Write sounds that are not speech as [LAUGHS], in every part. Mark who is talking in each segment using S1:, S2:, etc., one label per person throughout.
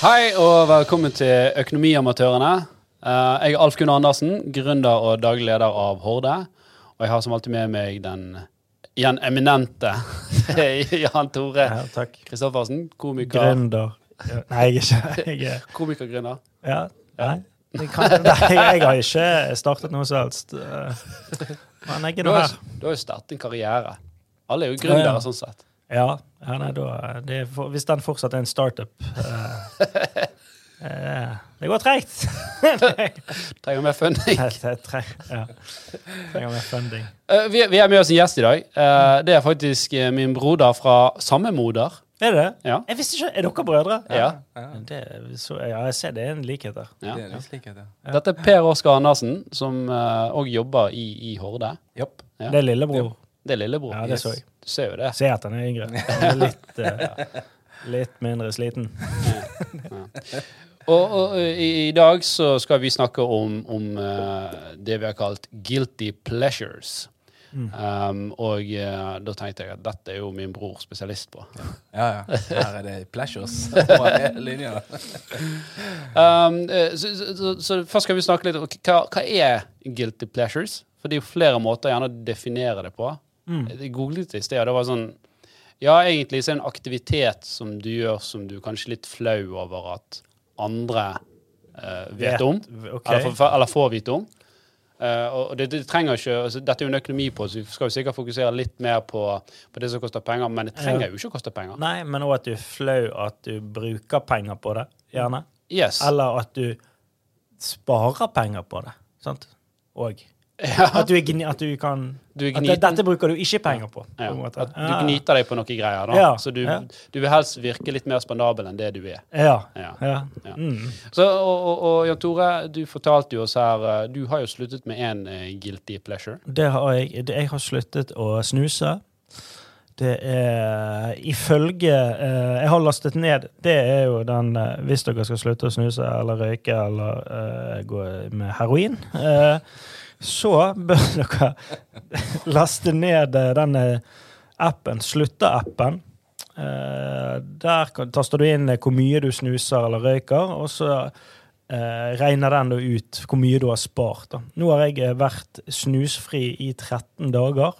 S1: Hei og velkommen til Økonomiamatørene. Eh, Jeg er Alf Gunnar Andersen, gründer og daglig leder av Horde. Og jeg har som alltid med meg den igjen eminente [LAUGHS] Jan Tore
S2: Ja, takk.
S1: Kristoffersen. Komiker,
S2: Gründer. Ja, Nei, jeg er ikke [LAUGHS] jeg er,
S1: komikergründer.
S2: ja, nei. Jeg, kan, nei, jeg har ikke startet noe som helst. eh, Men jeg er
S1: Du
S2: nå
S1: har
S2: her.
S1: jo- du har jo startet en karriere. Alle er jo
S2: Ja, ja.
S1: gründere, sånn sett.
S2: Ja, ja nei, da, eh, det er for, Hvis den fortsatt er en startup [LAUGHS] eh, eh, Det går treigt! [LAUGHS]
S1: Trenger mer funding.
S2: ja. Trenger mer funding.
S1: [LAUGHS] Eh, Vi vi har med oss en gjest i dag. Eh, Det er faktisk eh, min broder fra samme moder.
S2: Er det det?
S1: Ja.
S2: Jeg visste ikke, Er dere brødre?
S1: Ja.
S2: Det, er- så, ja, jeg ser det er en likhet der.
S1: Ja.
S3: Det er litt slik, det.
S1: Dette er Per Oskar Andersen, som òg jobber i, i Horde.
S3: Jopp.
S1: Ja.
S2: Det er lillebror.
S1: Det er lillebror.
S2: Ja, det så jeg.
S1: Du ser jo det.
S2: Se at han er yngre. Han er litt, eh, litt mindre sliten.
S1: Og, og i, i dag så skal vi snakke om, om eh, det vi har kalt guilty pleasures. Um, og eh, da tenkte jeg at dette er jo min bror spesialist på.
S3: Ja, ja. Her er det pleasures
S2: [LAUGHS]
S3: på hele linja.
S1: Um, eh, så, så, så, så først skal vi snakke litt om hva, hva er guilty pleasures? For det er jo flere måter gjerne å definere det på. Jeg googlet det i sted, og det var sånn Ja, egentlig så er det en aktivitet som du gjør som du kanskje er litt flau over at andre eh, vet
S2: Vet,
S1: om,
S2: ok.
S1: eller, får, eller får vite om. Eh, og det, det trenger ikke, altså, Dette er jo en økonomi på, så vi skal jo sikkert fokusere litt mer på, på det som koster penger, men det trenger jo ikke å koste penger.
S2: Nei, men òg at du er flau at du bruker penger på det, gjerne.
S1: Yes.
S2: Eller at du sparer penger på det. Sant? Og.
S1: Ja.
S2: At, du er gni, at du kan
S1: Du er
S2: at
S1: gniten.
S2: det, Dette bruker du ikke penger på. på
S1: Ja,
S2: en måte.
S1: at du gniter deg på noen greier, da.
S2: Ja,
S1: Så du,
S2: ja.
S1: du vil helst virke litt mer spandabel enn det du er.
S2: Ja.
S1: Ja.
S2: ja. ja.
S1: Ja.
S2: Mm.
S1: Så, og, og, og Jan Tore, du fortalte jo oss her eh, Du har jo sluttet med én guilty pleasure.
S2: Det har jeg, det, jeg har sluttet å snuse. Det er ifølge eh, Jeg har lastet ned. Det er jo den eh, Hvis dere skal slutte å snuse eller røyke eller eh, gå med heroin, eh, så bør [LAUGHS] dere laste ned eh, denne appen, slutta-appen. Eh, der kan, taster du inn eh, hvor mye du snuser eller røyker, og så eh, regner den da ut hvor mye du har spart. Da. Nå har jeg eh, vært snusfri i 13 dager.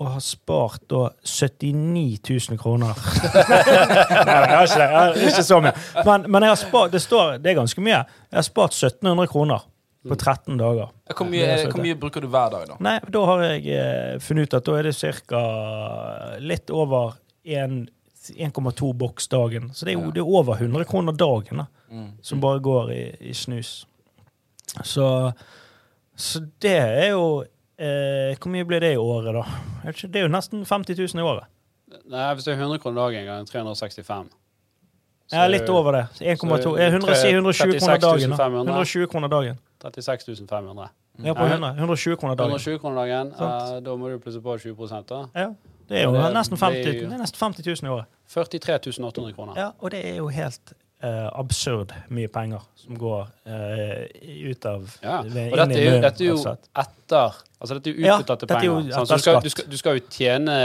S2: Og har spart da 79 000 kroner. [LAUGHS] Nei, jeg har ikke det. Jeg har ikke så mye. Men, men jeg har spart, det, står, det er ganske mye. Jeg har spart 1700 kroner på 13 dager.
S3: Hvor mye, hvor mye bruker du hver dag, da?
S2: Nei, da har jeg eh, funnet ut at da er det ca. litt over en- 1,2 boks dagen. Så det er, jo-
S3: Ja.
S2: det er over 100 kroner dagen da,
S3: Mm.
S2: som bare går i, i snus. Så, så det er jo eh, Hvor mye blir det i året, da? Jeg vet ikke, Det er jo nesten 50 000 i året.
S1: Nei, Hvis det er 100 kroner dagen ganger 365 så
S2: Ja, litt over det. 1,2 eh, 100, si 120 kroner
S1: 36
S2: dagen. da.
S1: 500.
S2: 120 kroner dagen.
S1: 36 500.
S2: Ja, på 100. 120 kroner dagen.
S1: 120 kroner dagen,
S2: Sant.
S1: eh, da må du plusse på 20 da.
S2: Ja, det er jo
S1: Ja, det
S2: nesten
S1: blir
S2: 50 000,
S1: jo-
S2: det er nesten 50 000 i året.
S1: 43 800 kroner.
S2: Ja, og det er jo helt eh, absurd mye penger som går eh, ut av
S1: Ja. Og
S2: ved- inn
S1: dette er
S2: i
S1: jo,
S2: munnen,
S1: dette er jo
S2: rett og slett.
S1: etter Altså dette er jo
S2: Ja,
S1: utbetalte
S2: dette er jo
S1: penger. sant? Så
S2: etter
S1: du skal,
S2: skatt.
S1: du, skal, du skal jo tjene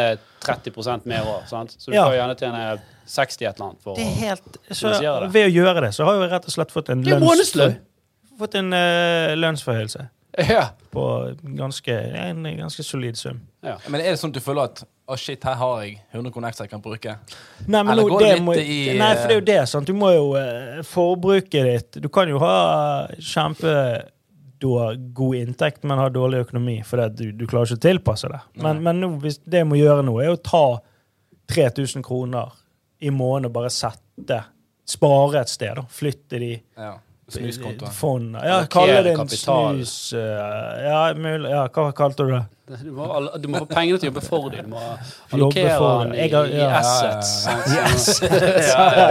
S1: 30 mer år, sant? så du
S2: Ja.
S1: skal jo gjerne tjene 60 et eller annet. For,
S2: Det er
S1: å-
S2: helt, så,
S1: Finansiere det.
S2: ved å gjøre det, så har jo jeg rett og slett fått en
S1: Det er jo
S2: lønns-
S1: månedslønn.
S2: Fått en eh, lønnsforhøyelse
S1: ja.
S2: på ganske, en ganske solid sum.
S3: Men er det sånn at du føler at å shit, her har jeg 100 kroner ekstra jeg kan bruke?
S2: Nei, men
S3: Eller
S2: nå,
S3: går
S2: det
S3: det
S2: må,
S3: litt i,
S2: nei, for det er jo det, sant. Du må jo eh, forbruket ditt Du kan jo ha kjempe da, god inntekt, men ha dårlig økonomi, for det, at du, du klarer ikke å tilpasse det. Men, men nå, hvis det jeg må gjøre nå, er å ta 3000 kroner i måneden og bare sette Spare et sted, da. Flytte de
S3: Ja. Snuskonto.
S2: fond Ja,
S1: Allokere
S2: kalle det en
S1: kapital.
S2: snus eh, ja, mulig, ja, hva kalte du det?
S1: Du må, all- du må få pengene til å jobbe for deg. Du må allokere
S2: Jobbe for
S1: den
S2: deg.
S1: i,
S2: Jeg har-
S1: i
S2: ja.
S1: assets.
S2: [LAUGHS]
S1: sant?
S2: ja,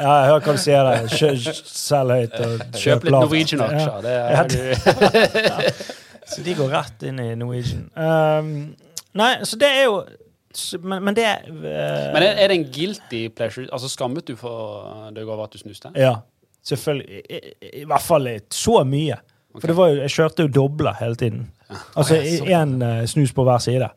S2: jeg hører hva du sier der. Kjø- kjø- Selg høyt og
S1: Kjøp litt
S2: lavt. Ja.
S1: Norwegian-aksjer. Det
S2: Ja,
S1: er du
S2: Så de går rett inn i Norwegian. Ehm, nei, så det er jo s- Men, men det eh,
S1: Men er, er det en guilty pleasure? Altså Skammet du for eh, deg over at du snuste?
S2: Ja, selvfølgelig. I, i, I hvert fall litt. Så mye. For det var jo, jeg kjørte jo doble hele tiden. Altså
S3: Ja, sånn.
S2: én snus på hver side.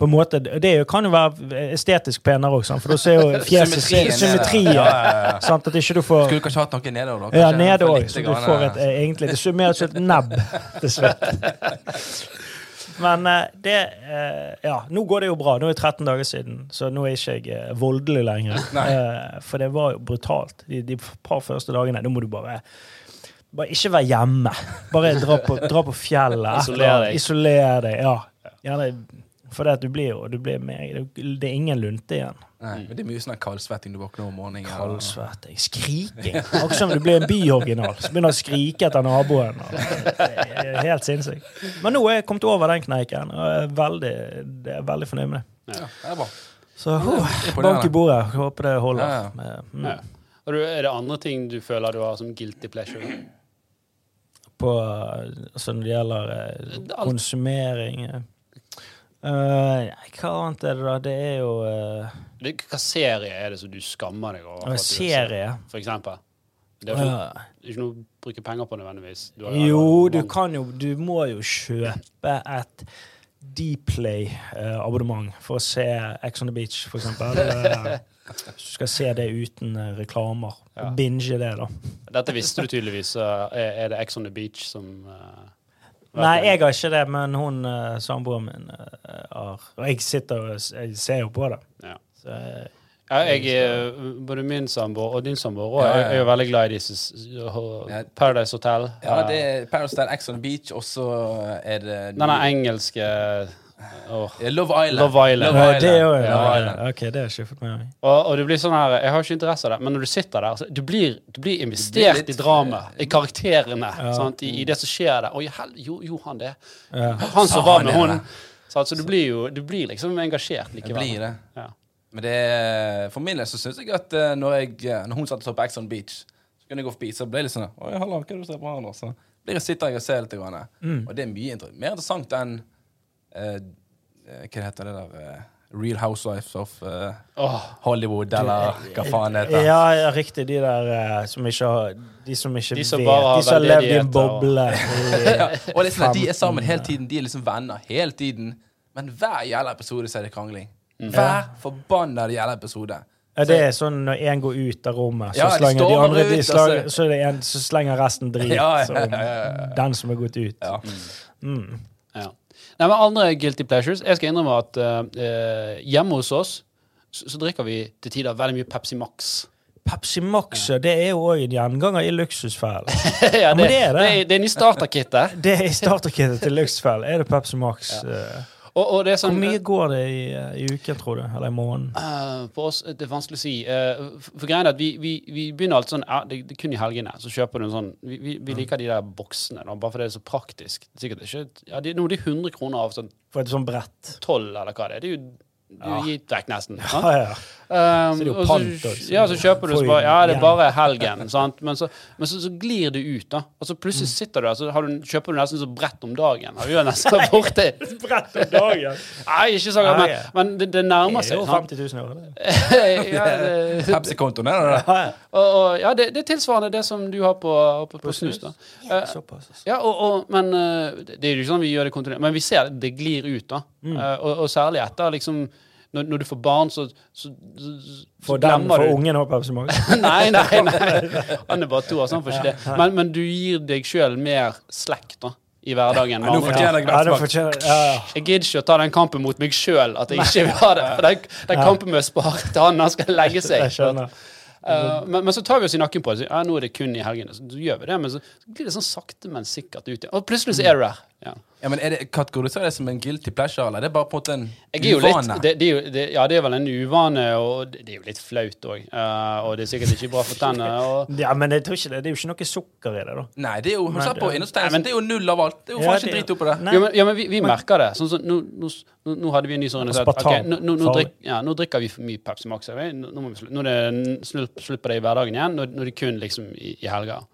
S2: på en måte, Det er jo- kan jo være eh, estetisk penere òg, for da ser jo fjeset
S3: Symmetrien er
S2: symmetrien.
S3: det. Ja, ja, ja.
S2: sant, at ikke du får
S3: Skulle du kanskje hatt noe nedover? da?
S2: ja,
S3: Kanskje
S2: nede
S3: få
S2: òg,
S3: litt
S2: så du
S3: grann,
S2: får et, eh, egentlig Det summeres ut et nebb til svett. Men eh, det eh, Ja, nå går det jo bra. Nå er det 13 dager siden, så nå er ikke jeg eh, voldelig lenger. Eh, For det var jo brutalt de, de par første dagene. Da må du bare Bare ikke være hjemme. Bare dra på, dra på fjellet.
S1: Isoler deg.
S2: Isolere deg. Ja. Gjerne, for det at du blir jo du blir med, Det er ingen lunte igjen.
S3: Nei, men det er mye sånn her kaldsvetting du våkner om morgenen. eller-
S2: Kaldsvetting. Skriking. Akkurat som om du blir en byoriginal som begynner å skrike etter naboen. og Det er helt sinnssykt. Men nå er jeg kommet over den kneiken, og jeg er veldig, jeg er veldig fornøyd med det.
S3: Ja, det er bra.
S2: Så uh, bank i
S3: Imponerende.
S2: bordet. Håper det holder.
S3: Ja, ja.
S2: Med,
S1: Ja.
S2: mm,
S1: Og du, er det andre ting du føler du har som guilty pleasure?
S2: på, altså når det gjelder eh,
S1: Alt.
S2: konsumering eh. Eh, nei, Hva annet er det, da? Det er jo eh,
S1: Det, hva serie er det som du skammer deg over? for
S2: en
S1: at du ser,
S2: serie.
S1: For eksempel. Det er jo ikke,
S2: Eh,
S1: det er ikke noe å bruke penger på nødvendigvis. Du har-
S2: Jo, du
S1: mange-
S2: kan jo Du må jo kjøpe et Dplay-abonnement for å se Ex on the Beach, for
S1: [LAUGHS]
S2: eksempel. Eh, Hvis du skal se det uten eh, reklamer.
S1: Ja.
S2: Og binge det, da.
S1: Dette visste du tydeligvis. så Er, er det Ex on the Beach som eh,
S2: Nei, jeg har ikke det, men hun eh, samboeren min eh, har Og jeg sitter og s- jeg ser jo på det.
S1: Ja.
S2: Så, eh,
S1: Ja, jeg, er- både min samboer og din samboer også,
S3: Ja, ja,
S1: jeg,
S3: ja.
S1: er jo veldig glad i disse s- ho-
S3: Ja.
S1: Paradise Hotel.
S3: Ja,
S1: eh,
S3: det er Paris Dad, Ex on the Beach, og så er det
S1: Denne engelske eh, åh.
S3: Ja, Love Island.
S1: Love Island.
S2: ja, det er jo
S3: Love Island.
S2: OK, det har jeg ikke fått med meg.
S1: Og, og du blir sånn her Jeg har ikke interesse av det, men når du sitter der, så du blir du blir investert
S3: litt- eh,
S1: i dramaet, i karakterene,
S2: Ja.
S1: sant? I, i det som skjer der. Oi, hel, jo, jo, han det.
S2: Ja.
S1: Han
S3: Sa
S1: som var
S3: han
S1: med
S3: det,
S1: hun.
S3: da?
S1: Sant? Så du blir jo du blir liksom engasjert
S3: Det
S1: likevel.
S3: blir det.
S1: Ja.
S3: Men det er, for min del så syns jeg at eh, når, jeg, eh, når hun satt og så på Ex on the Beach, så kunne jeg gå forbi, så ble jeg litt sånn Oi, halla, hva er det du ser på her, da? Så blir jeg sitter jeg og ser litt. Grann. Og det er mye inter mer interessant enn eh, eh, Hva heter det der eh, Real Housewives of eh,
S1: Åh,
S3: Hollywood, eller hva faen det heter.
S2: Ja, ja, riktig. De der eh, som ikke har De som ikke
S1: De
S2: vet.
S1: som bare har
S2: de som har levd i en
S1: veldedigheter og-
S2: boble.
S1: [LAUGHS]
S2: [LAUGHS]
S3: Ja, og liksom, de er sammen hele tiden, de er liksom venner hele tiden. Men hver jævla episode så er det krangling. Hver forbanna jævla episode.
S2: Ja, det er sånn når én går ut av rommet, så
S3: Ja, de
S2: slenger de
S3: stormer
S2: andre de
S3: ut,
S2: slanger,
S3: altså.
S2: Så er det en som slenger resten drit.
S3: Ja, ja,
S2: som
S3: ja, ja,
S2: Den som har gått ut.
S3: Ja.
S2: Mm.
S1: ja. Nei, men andre guilty pleasures Jeg skal innrømme at eh, eh, hjemme hos oss så, så drikker vi til tider veldig mye Pepsi Max. [LAUGHS]
S2: Pepsi Max ja. det er jo òg en gjenganger i luksusfellen.
S1: ja,
S2: men
S1: det,
S2: det er det.
S1: det, er- det er ny starterkittet.
S2: Det er i starterkittet til luksusfellen. Er det Pepsi Max? eh,
S1: Og, og det er
S2: Hvor
S1: sånn
S2: mye går det i, eh, i uken, tror du? Eller i måneden?
S1: Eh, for oss, det er vanskelig å si. Eh, for- for greien er at vi, vi, vi begynner alltid sånn ja, det, det er kun i helgene. Så kjøper du en sånn Vi, vi,
S2: Mm.
S1: vi liker de der boksene, da, bare fordi det er så praktisk. Det er Sikkert ikke ja, de, Nå er de 100 kroner av sånn
S2: For et sånt brett.
S1: 12, eller hva det er. Det er jo, det er jo gitt vekk, nesten.
S2: [LAUGHS]
S1: sant?
S2: Ja, ja.
S1: Um,
S2: Så det er jo
S1: og
S2: pant
S1: så-
S2: også.
S1: Ja, så kjøper du,
S2: Får
S1: så
S2: jo
S1: bare Ja, det er
S2: igjen.
S1: bare helgen, [LAUGHS] sant. Men så, men så, så glir det ut, da. Og så plutselig
S2: Mm.
S1: sitter du der, så har du, kjøper du nesten så brett om dagen. Og du er
S2: [LAUGHS]
S1: nesten borte.
S2: Brett om dagen!
S1: Nei, ikke sånn, men,
S2: Nei.
S1: men det, det nærmer
S2: Det er
S1: seg.
S2: jo
S1: sant?
S2: 50 000 år. det.
S1: [LAUGHS] ja, det,
S3: Pepsi-kontoen er det det.
S1: Og, og, ja, det, det er tilsvarende det som du har på, på, på snus. da. Eh,
S2: Såpass. altså.
S1: ja, og, og, men eh, det det er jo ikke sånn vi gjør det kontinuerlig. Men vi ser det, det glir ut, da. Eh, og, og særlig etter liksom når, når du får barn, så, så, så, så
S2: For den,
S1: glemmer
S2: for
S1: du
S2: ungen og Pepsi Max.
S1: [LAUGHS] Nei, nei, nei. Han er bare to år, så han får ikke det. Men, men du gir deg sjøl mer slekk da, i hverdagen. med
S3: Nå
S1: andre.
S3: fortjener
S2: Ja,
S3: jeg
S2: det
S3: Pepsi Max.
S2: fortjener ja, ja.
S1: Jeg gidder ikke å ta den kampen mot meg sjøl, at jeg ikke vil ha det. For den, den kampen må jeg spare til han når han skal legge seg.
S2: Jeg skjønner.
S1: Eh, men, men så tar vi oss i nakken på det. Så, ja, nå er det kun i helgene. Så gjør vi det, men så blir det sånn sakte, men sikkert ut igjen. Og plutselig så er du der. Ja.
S3: Ja, men er det Kategoriserer det som en guilty pleasure, eller er det bare på en måte en
S1: Jeg er jo litt,
S3: uvane?
S1: det, det er jo, det, ja, det er vel en uvane, og det det er jo litt flaut òg. og det er sikkert ikke bra for tennene. Og,
S2: Ja, men jeg tror ikke det. det er jo ikke noe sukker i det, da.
S3: Nei, det er jo
S2: Men
S3: Hør på
S2: det-
S3: Innostein,
S1: Nei, men-
S3: det er jo null av alt. Det er jo
S2: Ja,
S3: faen ikke
S2: det-
S3: drit oppi det.
S2: Nei.
S1: ja, men, ja, men vi, vi merker det. Sånn, som nå, nå, s- nå, nå hadde vi en ny sånn undersøkelse.
S2: Aspartam.
S1: Ok, nå, nå, nå,
S2: Farlig.
S1: drikk, ja, nå drikker vi for mye Pepsi Max. sier vi. Nå, nå, må vi slutt, nå er det n- slutt, slutt på det i hverdagen igjen. Nå, nå er det kun liksom i, i helger.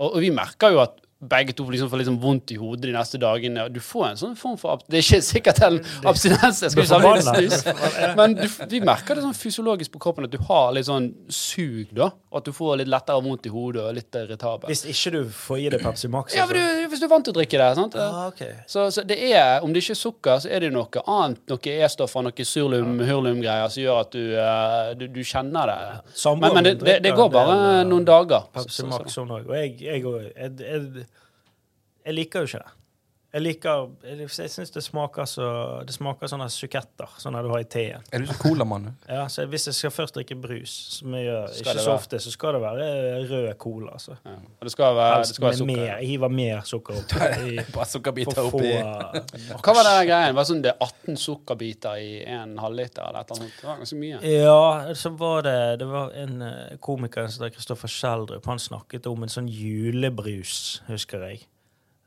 S1: Og, og vi merker jo at begge to liksom får liksom vondt i hodet de neste dagene. og Du får en sånn form for ab Det er ikke sikkert en abstinens, jeg skal ikke sammenligne
S2: forbannet.
S1: snus. Men du, vi merker det sånn fysiologisk på kroppen at du har litt sånn sug, da. Og at du får litt lettere vondt i hodet og litt irritabel.
S2: Hvis ikke du får i deg Pepsi Max. altså.
S1: Ja, men du, hvis du er vant til å drikke det. sant?
S2: ah, ok.
S1: Så, så det er, om det ikke er sukker, så er det jo noe annet, noe E-stoffer, noe surlum-hurlum-greier som gjør at du, eh, du, du kjenner det. Men,
S2: Samboeren
S1: men det,
S2: min
S1: det, det
S2: drikker
S1: går
S2: en
S1: bare
S2: del, eh,
S1: noen dager. altså.
S2: Pepsi
S1: Så- så-
S2: Max hun òg. Og jeg, jeg, og- jeg, jeg, jeg liker jo ikke det. Jeg liker, jeg, jeg syns det smaker så Det smaker sånne suketter, sånne du har i teen.
S3: Er du så colamann? du?
S2: Ja, så Hvis jeg skal først drikke brus, som jeg gjør
S1: Skal
S2: ikke
S1: det
S2: så
S1: være-
S2: ofte, så skal det være rød cola. altså.
S1: Ja. Og det skal være, det
S2: Helst
S1: skal være
S2: med
S1: sukker.
S2: mer. Jeg hiver mer sukker
S1: [LAUGHS]
S2: oppi. i-
S3: Bare sukkerbiter
S2: For få
S3: oppi.
S1: Hva var den greien? Var det sånn det er 18 sukkerbiter i en halvliter eller et eller annet? sånt? Det var ganske mye.
S2: Ja, så var det Det var en eh, komiker som het Kristoffer Schjelderup. Han snakket om en sånn julebrus, husker jeg.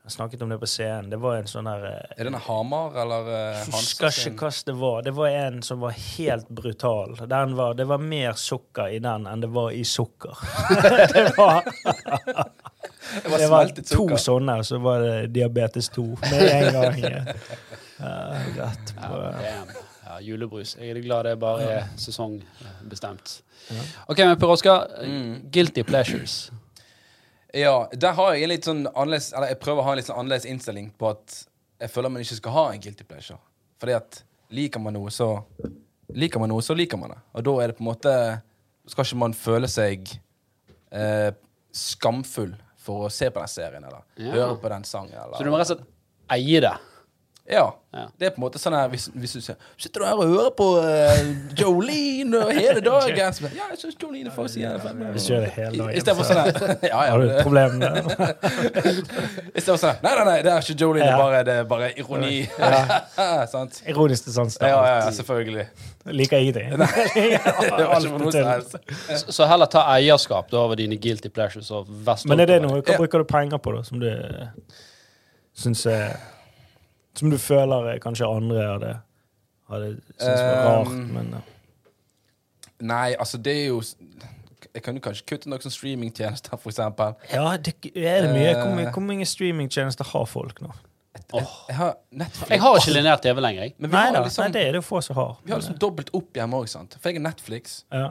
S2: Han snakket om det på scenen. Det var en sånn der eh,
S3: Er det en Hamar eller uh,
S2: Jeg
S3: Hansa
S2: husker ikke hva det
S3: sin?
S2: var. Det var en som var helt brutal. Den var, det var mer sukker i den enn det var i sukker. [LAUGHS] det var,
S3: Det var
S2: det var
S3: smeltet
S2: to
S3: sukker.
S2: sånne, og så var det diabetes 2 med en gang. Eh, rett på.
S1: Ja, damn. ja, julebrus. Jeg er glad det bare er sesongbestemt. OK, men Per Oskar, guilty pleasures.
S3: Ja, der har jeg en litt sånn annerledes Eller jeg prøver å ha en litt sånn annerledes innstilling på at jeg føler man ikke skal ha en guilty pleasure. Fordi at liker man noe, så liker man noe, så liker man det. Og da er det på en måte Skal ikke man føle seg eh, skamfull for å se på den serien eller
S1: Ja.
S3: høre på den sangen eller
S1: Så du må rett og slett eie det.
S3: Ja.
S1: Ja.
S3: Det er på en måte sånn her Hvis, hvis du sier Sitter du her og hører på eh, Jolene og hele dagen? Så, bare, ja, jeg syns Jolene får si det.
S2: Hvis du gjør det hele dagen,
S3: Istedenfor sånn her. [LAUGHS] Ja, ja,
S2: Har du
S3: det-
S2: et problem med det?
S3: Istedenfor sånn Nei, nei, nei, det er ikke Jolene,
S2: Ja.
S3: det, er bare, det er bare ironi. [LAUGHS] Sant?
S2: Ironisk sans.
S3: Ja, ja, ja, selvfølgelig.
S2: Liker [LAUGHS] ingenting.
S3: Det var
S2: Alt
S3: ikke for noe
S2: tull.
S3: som helst.
S1: Så, så heller ta eierskap da, over dine guilty pleasures. og vær stolt
S2: Men er det
S1: over
S2: noe,
S3: Ja.
S2: hva bruker du penger på, da, som du syns er Som du føler eh, kanskje andre hadde, hadde syntes var rart,
S3: Um,
S2: men eh,
S3: Nei, altså, det er jo Jeg kan jo kanskje kutte noen sånne streamingtjenester, for eksempel.
S2: Ja, det er det mye. Hvor, mye-
S3: Eh.
S2: hvor mange streamingtjenester har folk nå?
S3: Jeg har Netflix.
S1: Jeg har ikke linert TV lenger. jeg.
S3: Men vi
S2: Nei
S3: har
S2: da,
S3: liksom,
S2: nei, det er det jo få som har.
S3: vi har liksom dobbelt opp hjemme òg, sant. For jeg har Netflix.
S2: ja.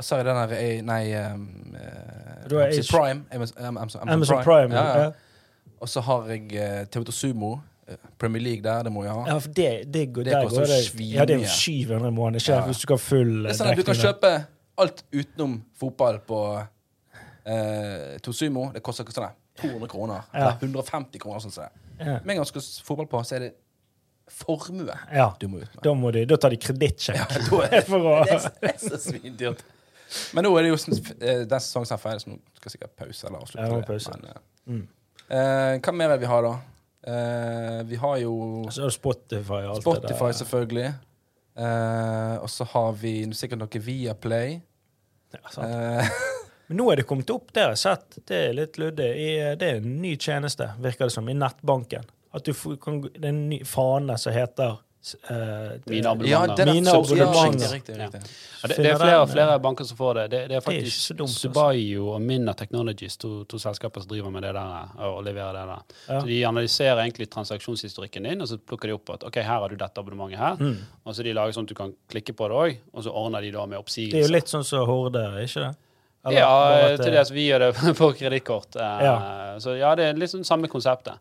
S3: Og så er det den der eh, Nei, um, eh,
S2: Du har H-
S3: Amazon Prime. Amazon, Amazon, Amazon
S2: Amazon Prime.
S3: Ja,
S2: Ja,
S3: ja. Og så har jeg eh, TV2 Sumo. eh, Premier League der, det må jeg ha.
S2: ja. for det, det, går,
S3: Det
S2: der
S3: koster
S2: går det
S3: svimje.
S2: Ja, det er jo 700 i måneden. Ikke
S3: Ja.
S2: hvis du skal ha full eh,
S3: Det er sånn at Du kan
S2: dekning, da.
S3: kjøpe alt utenom fotball på eh, Tosumo. Det koster ikke sånn der 200 kroner.
S2: Ja.
S3: Eller 150 kroner. sånn som det.
S2: Ja.
S3: Med en gang du skal ha fotball på, så er det formue
S2: Ja.
S3: du må ut med.
S2: Da, må de, da tar de kredittsjekk.
S3: [LAUGHS] Da er det,
S2: [LAUGHS] For å
S3: det er så- det er så svindyrt. Men nå er det jo sånn, eh, den sesongen som er ferdig, så nå skal jeg sikkert pause eller avslutte.
S2: Ja, nå
S3: det,
S2: pause.
S3: men, eh,
S2: Mm.
S3: eh, hva mer er det vi har, da? Eh, vi har jo
S2: Så er det Spotify og alt det
S3: Spotify,
S2: der.
S3: selvfølgelig. Eh, og så har vi sikkert noe Viaplay.
S2: Ja, sant.
S3: Eh,
S2: [LAUGHS] Men nå er det kommet opp, det har jeg sett. Det er litt luddig. I- eh, Det er en ny tjeneste, virker det som, i nettbanken. At du får, kan, det er en ny fane som heter eh, det-
S1: Mine abonnementer.
S3: Ja, det er
S2: Mine
S3: subscription.
S2: abonnementer.
S3: Ja, riktig, riktig, riktig.
S1: Ja, det, det
S2: Finner
S1: er flere og
S2: den, eh,
S1: flere banker som får det. Det, det er
S2: ikke
S1: faktisk
S2: så dumt, altså.
S1: Subayo og Minna Technologies, to, to selskaper som driver med det der eh, og og leverer det der.
S2: Ja.
S1: Så De analyserer egentlig transaksjonshistorikken din, og så plukker de opp at OK, her har du dette abonnementet her.
S2: Mm.
S1: Og så de lager sånn at du kan klikke på det òg, og så ordner de da med
S2: Det er jo
S1: oppsigelse.
S2: litt sånn som Horde, ikke det? Eller bare
S1: Ja, eh,
S2: at
S1: til dels vi gjør det [LAUGHS] på kredittkort. eh,
S2: Ja.
S1: Så ja, det er litt sånn samme konseptet.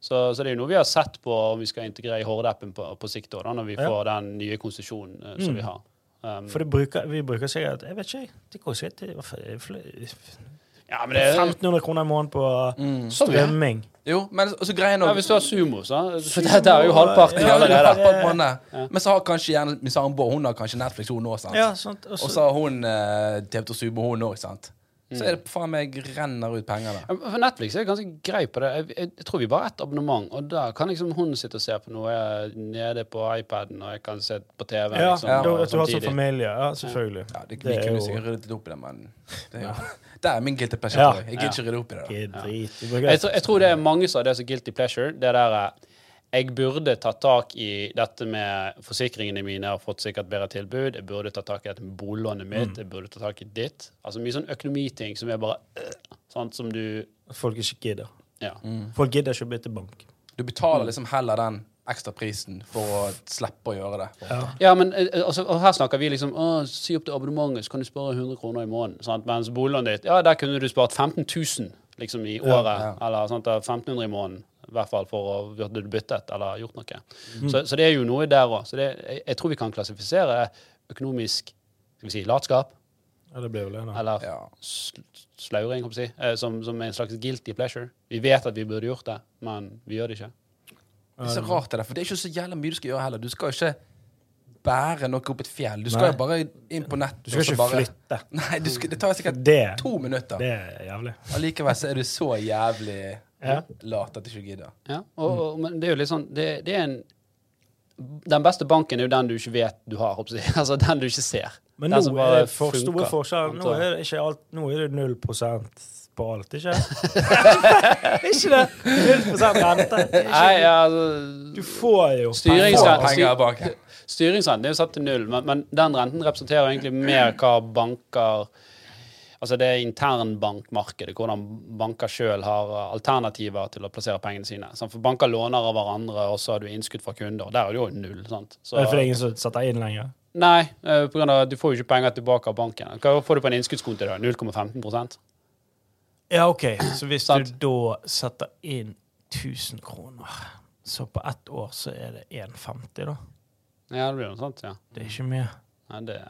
S1: Så, så det er jo noe vi har sett på om vi skal integrere i Horde-appen på, på sikt, da, da, når vi
S2: Ja.
S1: får den nye konsesjonen eh, som vi har. Um,
S2: For det bruker, vi bruker sikkert Jeg vet ikke, det går sikkert til hva faen, det er fl-
S1: ja, men det er
S2: 1500 kroner i måneden på eh,
S3: Mm.
S1: Sånn, ja.
S2: strømming.
S3: Jo, men så greien
S1: Ja,
S3: òg
S1: hvis du har sumo, så. [LAUGHS] For dette er jo halvparten
S3: ja, det er
S1: allerede.
S3: rett på en måned. Men så har kanskje gjerne min samboer Hun har kanskje Netflix, hun òg.
S2: Ja, sant. Og
S3: Og
S2: så
S3: så har hun eh, TV2 Sumo, hun òg. Så er det faen meg renner ut penger der.
S1: Ja, men For Netflix er ganske grei på det. Jeg, jeg, jeg tror vi bare har ett abonnement, og da kan liksom hun sitte og se på noe eh, nede på iPaden, og jeg kan se på TV.
S2: ja,
S1: liksom, og
S2: da- at du har sånn
S1: samtidig.
S2: familie. Ja, selvfølgelig.
S3: Ja, det, vi
S2: Det er
S3: kunne
S2: jo-
S3: sikkert ryddet litt opp i det, men det er jo, [LAUGHS] Det er min guilty pleasure.
S2: Ja.
S3: tror Jeg Jeg gidder ikke rydde opp i det.
S2: Ikke drit. Vi
S1: jeg,
S2: bruker
S1: tror, jeg tror det er mange som har det som guilty pleasure. Det der eh, Jeg burde tatt tak i dette med forsikringene mine og fått sikkert bedre tilbud. Jeg burde tatt tak i dette med boliglånet mitt. Jeg burde tatt tak i ditt. Altså mye sånn økonomiting som er bare øh, sånn som du
S2: at folk ikke gidder.
S1: Ja.
S2: Folk gidder ikke å bytte bank.
S3: Du betaler liksom heller den ekstra prisen for å slippe å gjøre det.
S1: Ja, men eh, altså, og her snakker vi liksom å, Si opp til abonnementet, så kan du spare 100 kroner i måneden. Sant? Mens boliglånet ditt Ja, der kunne du spart 15 000 liksom, i året.
S3: ja.
S1: Eller sant, da 1500 i måneden. I hvert fall for å burde du byttet eller gjort noe.
S3: Mhm.
S1: Så, så det er jo noe der òg. Så det, jeg, jeg tror vi kan klassifisere økonomisk skal vi si, latskap
S2: Ja, det blir vel det, da.
S1: eller
S3: Ja.
S1: sl- slauring, kan vi si, eh, som, som en slags guilty pleasure. Vi vet at vi burde gjort det, men vi gjør det ikke.
S3: Det er så rart det der, for det er ikke så jævla mye du skal gjøre heller. Du skal jo ikke bære noe opp et fjell. Du skal
S2: Nei.
S3: jo bare inn på nett.
S2: Du skal
S3: og så
S2: ikke
S3: bare...
S2: flytte.
S3: [LAUGHS] Nei, du skal, det tar sikkert
S2: Det-
S3: to minutter.
S2: Det er jævlig.
S3: Allikevel så er du så jævlig
S2: Ja.
S3: lat at du ikke gidder.
S1: Ja, og, og, men det er jo litt sånn det, det er en, Den beste banken er jo den du ikke vet du har. håper jeg. [LAUGHS] Altså den du ikke ser.
S2: Men
S1: den
S2: nå er det for
S1: altså funker.
S2: store forskjeller. Nå
S1: Altså,
S2: er det ikke alt Nå er det 0 på alt,
S1: [LAUGHS]
S2: ikke Ikke det? 0 rente.
S1: Nei,
S2: Ikke.
S1: ja, altså,
S2: Du får jo
S1: Styring-
S2: penger.
S3: Få
S1: skal-
S3: penger av banken.
S1: Styringsrenten er jo satt til null, men, men den renten representerer jo egentlig mer hva banker Altså det internbankmarkedet, hvordan banker sjøl har eh, alternativer til å plassere pengene sine. Sant? For banker låner av hverandre, og så har du innskudd fra kunder. Der er det jo null. sant? Så-
S2: Det er fordi ingen som setter inn lenger.
S1: Nei, eh, på grunn av at du får jo ikke penger tilbake av banken. Hva får du på en innskuddskonto? da? 0,15
S2: Ja, OK. Så hvis
S1: Sant.
S2: du da setter inn 1000 kroner, så på ett år så er det 1,50, da.
S1: Ja, det blir noe sånt, ja.
S2: Det er ikke mye.
S1: Nei, det,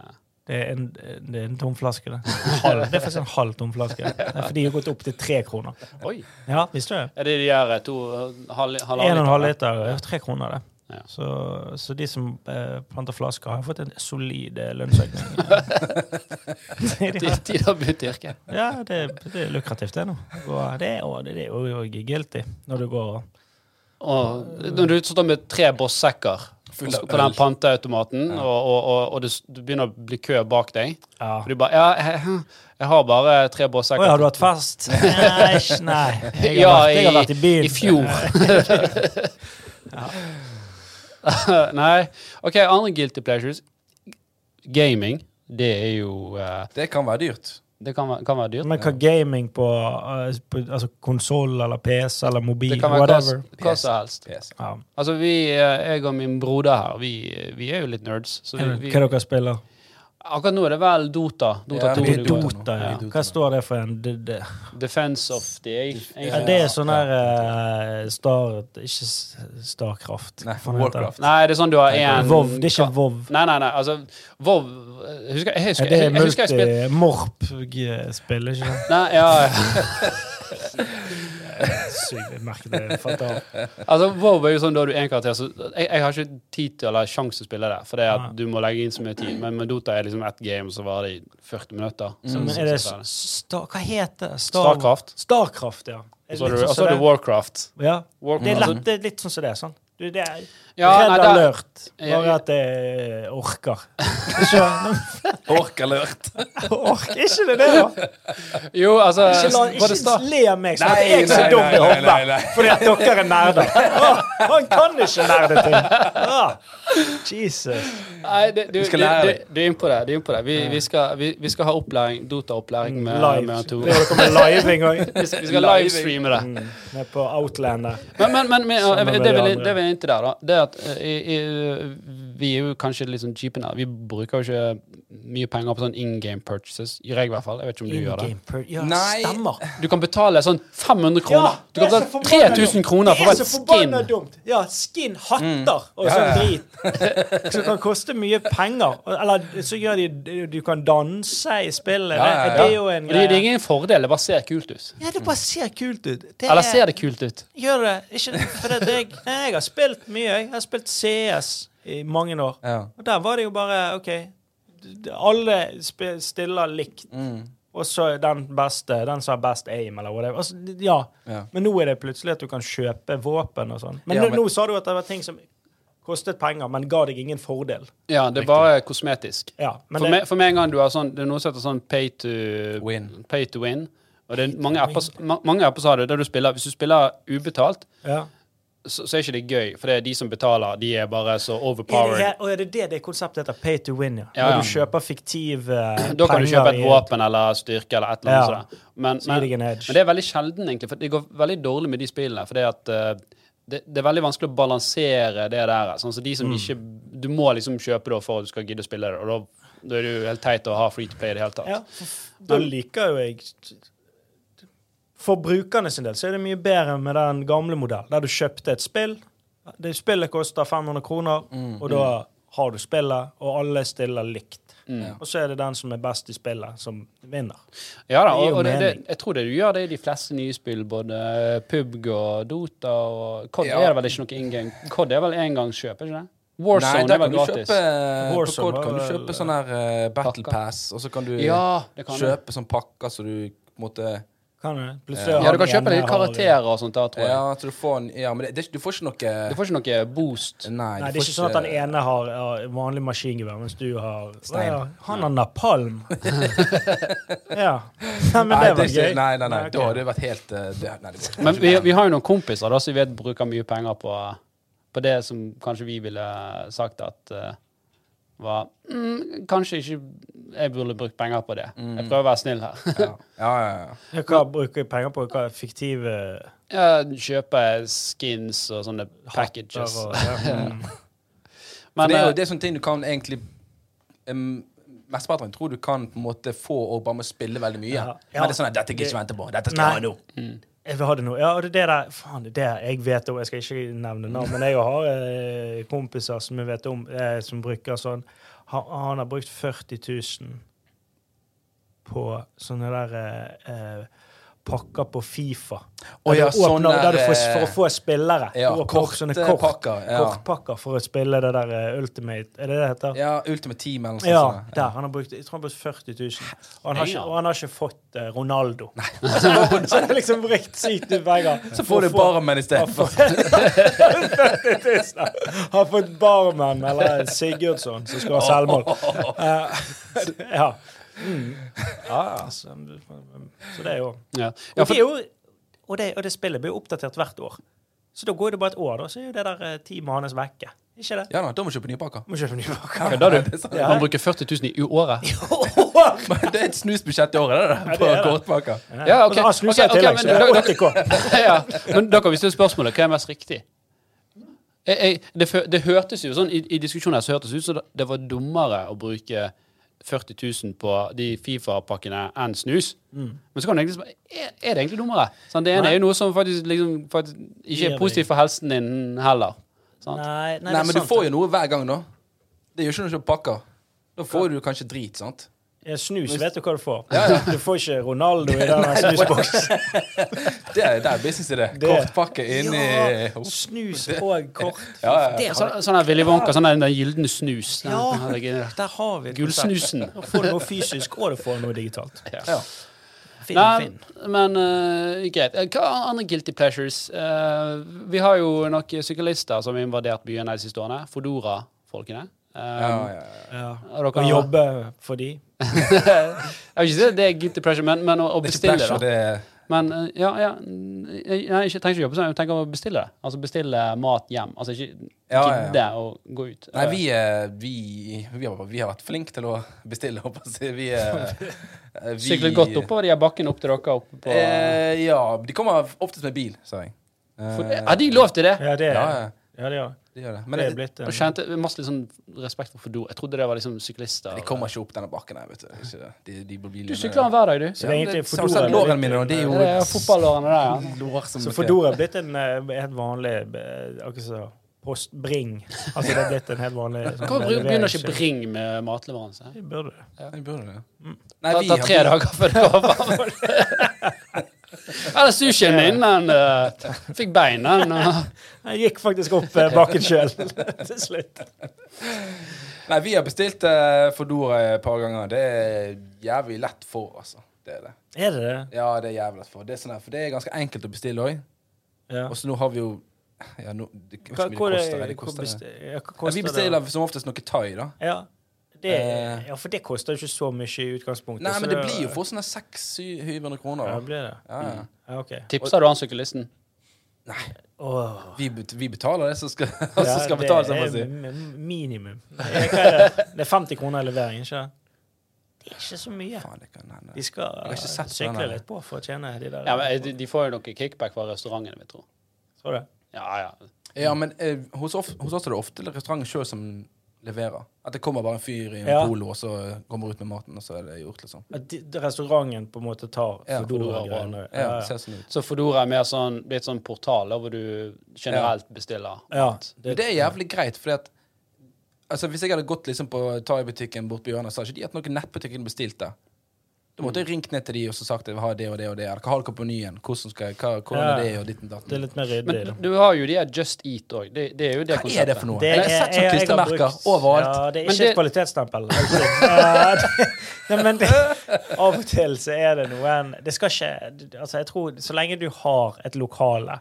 S2: Det er en, det er en tom
S1: [LAUGHS]
S2: flaske, det. Halv, det er faktisk en halv tom flaske. Det er fordi de har gått opp til tre kroner.
S1: oi!
S2: Ja, visste du det?
S1: Er det de her eh, to eh, halv, halvannen
S2: En og en halv
S1: literne?
S2: liter er tre kroner, det.
S1: Ja.
S2: Så, så de som eh, planter flasker, har fått en solid eh,
S1: [LAUGHS]
S2: lønnsøkning. [LAUGHS]
S1: Tid tid å bytte yrke.
S2: ja, det, det er lukrativt, det nå. Og det er jo- det er jo også guilty når du går og
S1: Og når du står med tre bossekker
S3: Full av
S1: på den
S3: øl.
S1: panteautomaten, og, og, og, og det, s- du begynner å bli kø bak deg
S2: ja.
S1: Og du bare Ja, jeg, jeg har bare tre
S2: Å, har
S1: bossekker.
S2: du
S1: [LAUGHS]
S2: hatt fest? Nei, ikke- nei. Jeg
S1: Ja,
S2: har, vært, jeg har
S1: i-
S2: vært i byen.
S1: I fjor.
S2: [LAUGHS]
S1: Nei. OK, andre guilty pleasures. Gaming. Det er jo eh,
S3: Det kan være dyrt.
S1: Det kan, være- kan være dyrt.
S2: Men hva gaming på, eh, på altså konsoll eller PC eller mobil,
S1: Det kan være hva,
S2: whatever?
S1: hva som helst.
S3: Yes.
S2: Ja.
S1: Altså, vi, eh, jeg og min broder her, vi, eh, vi er jo litt nerds. Så vi, vi,
S2: Hva dere spiller?
S1: akkurat nå er det vel Dota. Dota
S3: Ja,
S1: 2.
S3: vi-
S1: det går.
S2: Dota, ja.
S3: Ja.
S2: Hva står det for en? Det, det.
S1: Defense of the Age.
S2: Ja,
S1: egentlig.
S2: det er sånn her eh, Star Ikke S- Starcraft.
S3: Nei,
S2: Hva faen heter det?
S3: Warcraft.
S1: Nei, det er sånn du har én
S2: Vov, det er ikke Vov.
S1: Nei, nei, nei, altså Vov Jeg husker jeg,
S2: Ja,
S1: husker,
S2: det
S1: jeg,
S2: er
S1: jeg, husker jeg spilte
S2: multi-morp-spill, ikke sant?
S1: Nei, ja, ja.
S2: Sykt, jeg merket det. Fant av.
S1: Altså, Vov er jo sånn da har du én karakter, så jeg, jeg har ikke tid til eller sjanse til å spille det. For det at
S2: Nei.
S1: du må legge inn så mye tid. Men med Dota er liksom ett game, så varer det i 40 minutter.
S3: Mm.
S1: Så,
S2: Men
S1: så-
S2: er det
S1: så- så-
S2: sta, Hva heter det? Star-
S1: Starcraft.
S2: Starcraft, ja. Er
S1: Og
S2: det
S1: så har
S2: litt
S1: du-
S2: sånn
S1: og så har
S2: som
S1: du Mm. Warcraft.
S2: det? Ja. Det er,
S1: Warcraft Altså,
S2: lett, det er litt sånn som det er. sånn. Du, det er
S1: Ja,
S2: redd
S1: nei, det er-
S2: alert.
S1: Ja,
S2: Bare
S1: ja.
S2: at jeg orker. Ikke,
S3: Orkalert.
S2: orker ikke det, det, da?
S1: Jo, altså
S2: Ikke, la,
S1: var det
S2: ikke
S1: Star-
S2: le av meg som at
S3: Nei,
S2: jeg er så
S3: nei,
S2: dum
S3: nei,
S2: i
S3: nei, nei,
S2: hodet
S3: nei.
S2: fordi at dere er nerder. Å, Han kan ikke nerdeting! Ah, Jesus.
S1: Nei, det, du,
S3: Vi skal
S1: du-
S3: lære
S1: du-
S3: deg.
S1: Du er inne på det. Du er inne på det. Vi, vi, skal, vi, vi skal ha opplæring, Dota-opplæring med, med
S2: Live.
S1: han to.
S2: Det er jo dere med living òg.
S1: Vi skal, vi skal livestreame det.
S2: Med på Outland der.
S1: Men, men, men, men
S2: Sammen med
S1: det, vil,
S2: de
S1: jeg-
S2: andre.
S1: det vil jeg inn til der, da. Det er at eh, i, i, vi er jo kanskje litt sånn cheapen her. Vi bruker jo ikke mye penger på sånn in game purchases. Gjør jeg, i hvert fall. Jeg vet ikke om du gjør det.
S2: In-game per- Ja,
S3: Nei.
S2: stemmer.
S1: Du kan betale sånn 500 kroner.
S2: Ja,
S1: du kan
S2: det er så
S1: betale
S2: forbanna
S1: 3000
S2: dumt.
S1: kroner for
S2: Det
S1: et
S2: er så forbanna
S1: skin. Mm.
S2: dumt. Ja, skin, hatter og sånn drit. Som kan koste mye penger. Og- Eller så gjør de Du kan danse i spillet.
S3: Ja, ja, ja.
S2: Det er jo en
S1: Og Det, det er
S2: greie.
S1: ingen fordel. Det bare ser kult ut.
S2: Ja, det bare ser kult ut. Det
S1: Eller ser
S2: er,
S1: det kult ut?
S2: gjør det. Ikke for det, jeg, nei, jeg har spilt mye. Jeg har spilt CS i mange år.
S3: Ja.
S2: Og der var det jo bare OK. d- Alle sp- stiller likt.
S3: Mm.
S2: Og så den beste, den som har best aim, eller whatever. Altså, ja.
S3: Ja.
S2: Men nå er det plutselig at du kan kjøpe våpen og sånn. Men,
S3: Ja,
S2: nå-
S3: men-
S2: nå sa du at det var ting som kostet penger, men ga deg ingen fordel.
S1: Ja, det er bare kosmetisk.
S2: Ja, men
S1: For,
S2: det,
S1: meg, for meg en gang du har sånn, det er noe som heter sånn pay to
S3: Win.
S1: Pay to win. Og det er mange apper, ma- mange apper som har det, der du spiller, hvis du spiller ubetalt,
S2: ja.
S1: så, så er ikke det gøy, for det er de som betaler, de er bare så
S2: Er det,
S1: overpowered.
S2: her- å, er det det det konseptet heter? Pay to win, ja.
S1: Ja, ja.
S2: Når du kjøper fiktive eh,
S1: Da kan du
S2: penger
S1: kjøpe et
S2: i-
S1: våpen eller styrke eller et eller
S2: Ja.
S1: annet. sånt. Men,
S2: Så gir deg
S1: men,
S2: en edge.
S1: men det er veldig sjelden, egentlig, for det går veldig dårlig med de spillene. For det, at, eh, det, det er veldig vanskelig å balansere det der. Sånn, så de
S2: Mm.
S1: som ikke, du må liksom kjøpe det for at du skal gidde å spille det, og da, da er det jo helt teit å ha free to play i det hele tatt.
S2: Ja, for da liker jo jeg For brukerne sin del så er det mye bedre med den gamle modellen, der du kjøpte et spill. Det Spillet koster 500 kroner,
S1: Mm.
S2: og da har du spillet, og alle stiller likt.
S1: Mm.
S2: Og så er det den som er best i spillet, som vinner.
S1: Ja da,
S2: Det gir
S1: og,
S2: jo
S1: og det, det,
S2: mening.
S1: jeg tror det du gjør det i de fleste nye spill, både PUBG og Dota og COD
S3: Ja.
S1: er det vel ikke noe in game. COD er vel engangskjøp, er ikke det? Warzone
S3: der
S1: er
S3: kan
S1: vel
S3: du
S1: gratis.
S3: kjøpe, eh,
S2: Warzone
S3: på Kod kan du
S2: var vel-
S3: kjøpe sånn her eh, Battle
S1: Pakker.
S3: Pass, og så kan du
S1: Ja, det kan du.
S3: kjøpe sånn pakker så du på en måte
S2: Kan du? Plutselig
S1: Ja,
S2: har
S1: du kan
S2: den
S1: kjøpe
S2: ene
S1: litt
S2: har-
S1: karakterer og sånt der, tror jeg.
S3: Ja, så du får en Ja, men det, det, er ikke- du får ikke noe
S1: Du får ikke noe boost.
S3: Nei,
S2: Nei, det er ikke sånn at den ene har ja, vanlig maskingevær, mens du har
S3: Stein.
S2: Ja, han har
S3: [LAUGHS]
S2: napalm! ja. Nei, men
S3: Nei,
S2: det
S3: det
S2: var
S3: er
S2: gøy.
S3: ikke, nei, nei, nei,
S2: ok.
S3: da hadde det vært helt eh, det, Nei, det går ikke.
S1: Men vi, vi har jo noen kompiser da, som vi vet bruker mye penger på, på det som kanskje vi ville sagt at eh, var mm, Kanskje ikke jeg burde brukt penger på det. Jeg prøver å være snill her. [LAUGHS]
S3: Ja, ja, ja. ja.
S2: Ja, Hva bruker jeg penger på? Hva er fiktive
S1: ja, kjøpe skins og sånne packages.
S3: [LAUGHS]
S2: og- ja. Mm.
S3: For
S1: Men,
S3: det er jo
S1: eh,
S3: det er sånne ting du kan egentlig um, Mesteparten tror du kan på en måte få og bare må spille veldig mye.
S2: Ja. Ja.
S3: Men det er sånn at dette kan jeg ikke vente på. Dette skal jeg ha nå.
S2: Jeg vil ha det nå. Ja, det er det der Faen, det er det jeg vet om. Jeg skal ikke nevne navn, men jeg har eh, kompiser som jeg vet om, eh, som bruker sånn han, han har brukt 40 000 på sånne der eh, eh, pakker på Fifa.
S3: Å ja,
S2: Der du åpner-
S3: sånne der,
S2: der du får,
S3: eh,
S2: for å få spillere.
S3: ja,
S2: Du åpner opp sånne kort,
S3: kortpakker, ja.
S2: kortpakker for å spille det der eh, Ultimate Er det det heter?
S3: Ja, Ultimate Team eller noe
S2: Ja,
S3: sånt. sånt.
S2: der. Han har brukt, jeg tror han har brukt 40 000. Og han har ikke,
S1: Ja.
S2: og han har ikke fått eh, Ronaldo. [LAUGHS] Så han har liksom brukt sykt mye penger.
S3: Så får du barmen i
S2: Han
S3: stedet.
S2: får- [LAUGHS] 40 000. Han har fått barmann eller Sigurdsson som skal ha selvmål. Eh, [LAUGHS] ja. Mm. ja. ja, Så, så det er jo
S1: ja. Ja,
S2: Og
S1: for,
S2: det, er jo, og, det, og det spillet blir jo oppdatert hvert år. Så da går det bare et år, da, så er jo det der eh, teamet hans vekke. Ikke det?
S3: Ja da, da må du kjøpe nye pakker.
S2: Må kjøpe [LAUGHS] nye pakker.
S1: Kødder du?
S3: [LAUGHS] Det er sant.
S2: Ja.
S1: Man bruker 40 000 i året?
S3: Men det er et snusbudsjett i året, det der, på
S2: det er det.
S3: kortpakker.
S1: Ja,
S2: Og så
S1: ok.
S2: har snusa
S1: Ok, ok,
S2: i tillegg,
S1: men
S2: så det er
S1: da-
S2: 80K.
S1: [LAUGHS] ja. Men da kan vi stille spørsmålet hva er mest riktig. Jeg, jeg, det, fø- det hørtes jo sånn, I, i diskusjonen her så hørtes det ut som det var dummere å bruke 40 000 på de Fifa-pakkene enn snus.
S2: Mm.
S1: Men så kan du egentlig spørre er, er det egentlig dummere. Sånn, det ene er jo noe som faktisk, liksom, faktisk ikke
S2: Gir
S1: er positivt for helsen din heller. Sant?
S2: Nei, nei,
S3: Nei, men du får jo noe hver gang, da. Det gjør ikke noe å kjøpe pakker. Da får du kanskje drit, sant?
S2: ja, Snus, vet du hva du får? Du får ikke
S3: [LAUGHS]
S2: Ronaldo i den snusboksen.
S3: Det er, det er businessidé.
S2: Det-
S3: Kortpakke inni
S2: Ja, snus og kort.
S3: Ja, Altså- ja.
S2: Det
S1: Sånn,
S2: har,
S1: sånn der Willy Wonka, sånn der den gylne snus. Den,
S2: Ja.
S1: herregud.
S2: der har vi et konsept.
S1: Gullsnusen.
S2: Da får du noe fysisk, og du får noe digitalt.
S3: [LAUGHS] Ja.
S2: Finn,
S1: Nei,
S2: finn.
S1: men eh, greit. Eh, Hva er andre guilty pleasures? Eh, vi har jo noen syklister som har invadert byene de siste årene. Fodora-folkene. Eh,
S3: Ja, ja, ja.
S2: Ja.
S1: og dere-
S2: Å jobbe for de.
S1: [LAUGHS] Jeg vil ikke si at det er guilty pleasure, men, men å, å
S3: Det er ikke
S1: bestille,
S3: pleasure,
S1: da.
S3: det er
S1: Men eh, ja, ja mm, jeg, jeg ikke- trenger ikke jobbe sånn, jeg tenker å bestille det. Altså bestille mat hjem. Altså ikke
S3: Ja, ja, ja.
S1: gidde å gå ut.
S3: Nei,
S1: Eh,
S3: vi, eh, vi, vi, har, vi har vært flinke til å bestille, [LAUGHS] håper jeg å si. Vi, eh, vi
S1: Sykle godt oppover de her bakkene opp til dere oppe på
S3: Eh, ja. De kommer oftest med bil, sa jeg. Eh,
S1: for, Har de lov til det?
S2: Ja, det
S3: ja,
S2: er
S3: ja,
S2: ja, det. Er.
S3: de gjør det. Men
S2: Det
S3: det,
S2: er blitt
S1: Og
S2: en
S1: kjente jeg masse litt sånn respekt for Fodora. Jeg trodde det var liksom syklister.
S3: de kommer ikke opp denne bakken her, vet du. Ikke, de, de blir
S1: Du sykler den hver dag, du.
S2: Så det er egentlig
S3: Så har du
S2: Fodora
S3: sett lårene
S2: blitt
S3: mine, da. Det er
S1: Ja, det
S3: jo
S1: er fotballårene der, ja.
S3: lår som
S2: Så Fodora er blitt en eh, helt vanlig eh, Akkurat som postbring. Altså det er blitt en helt vanlig sånn
S1: Hvorfor bry- begynner ikke
S2: leveringskjede.
S1: Bring med matleveranse?
S2: Det burde du.
S3: Ja, de burde det. Nei,
S1: Mm. Ta,
S3: vi
S1: ta
S3: har-
S1: tre dager før det går
S3: [LAUGHS]
S1: fram. Eller sushien min, den eh, fikk bein, den. [LAUGHS] eh.
S2: Jeg gikk faktisk opp eh, bakken sjøl [LAUGHS] til slutt.
S3: Nei, vi har bestilt uh, Fodora et par ganger. Det er jævlig lett for, altså. Det er det.
S2: Er det det?
S3: Ja, det er jævlig lett for. Det er, sånn her, for det er ganske enkelt å bestille òg.
S2: Ja.
S3: Og så nå har vi jo ja, nå, det, jeg vet
S2: Hva,
S3: ikke
S2: hvor
S3: mye
S2: er
S3: det
S2: det, hvor
S3: koster. Det koster
S2: besti- ja, hva
S3: ja,
S2: koster
S3: vi
S2: det?
S3: bestiller som oftest noe thai, da.
S2: ja, det,
S3: Eh.
S2: ja, for det koster jo ikke så mye i utgangspunktet.
S3: Nei,
S2: så
S3: men det blir jo sånn for sånne 600-700
S2: Ja,
S3: kroner. da.
S2: blir det.
S3: Ja, ja.
S2: Ja, ok.
S1: Tipser du han syklisten?
S3: Nei,
S2: Åh.
S3: Vi, bet- vi betaler det som skal, [LAUGHS] som skal betale, som
S2: det
S3: man sier.
S2: er m- [LAUGHS] minimum. Hva er det? det er 50 kroner i levering, ikke sant? Det er ikke så mye.
S3: Faen, det kan hende.
S2: De skal eh,
S3: har ikke sett på den
S2: sykle
S3: her.
S2: litt på for å tjene de der.
S1: Ja, men eh, de, de får jo noe kickback fra restauranten, vil jeg tro.
S2: Så det.
S1: Ja, ja.
S3: Ja, men eh, hos, of, hos oss er det ofte restauranten sjøl som leverer. At det kommer bare en fyr i en
S2: Ja.
S3: polo, og så eh, kommer ut med maten, og så er det gjort, liksom.
S2: At de, de restauranten på en måte tar
S3: Ja,
S2: Foodora-greiene.
S3: Ja, det ser sånn ut.
S1: Så Fodora er mer sånn, blitt sånn portal der hvor du generelt bestiller.
S2: ja,
S3: Men det er jævlig greit, fordi at Altså, Hvis jeg hadde gått liksom på Thai-butikken bort på hjørnet, så hadde ikke de hatt noen nettbutikk jeg kunne bestilt der. Da måtte
S2: Mm.
S3: jeg ringt ned til de og så sagt at jeg vil ha det og det og det. Eller hva har dere på menyen? Hvordan, skal, jeg- hva, hvordan
S2: Ja.
S3: er det, og ditt og datt.
S2: det er litt mer ryddig.
S1: Men
S2: da.
S1: du, du har jo de her Just Eat òg. Det, det er jo det
S3: Hva
S1: konseptet.
S3: er det for noe?
S2: Det
S3: jeg har
S2: er-
S3: sett sånne
S2: jeg- jeg har
S3: klistremerker
S2: brukt-
S3: overalt.
S2: Ja, det er
S1: Men
S2: ikke
S1: det-
S2: et kvalitetsstempel. alltid. [LAUGHS] Ja, det- Nei, men det, av og til så er det noen Det skal ikke Altså, jeg tror Så lenge du har et lokale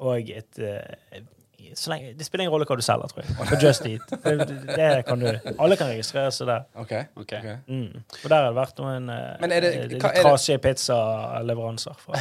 S2: og et eh, så lenge, Det spiller ingen rolle hva du selger, tror jeg. På Just Eat. Det, det kan du Alle kan registrere seg der.
S3: Ok,
S1: Ok.
S3: ok.
S2: Mm. Og der har det vært noen eh,
S3: Men er det-
S2: litt
S3: hva er det-
S2: trasige pizzaleveranser
S3: [LAUGHS]
S2: fra.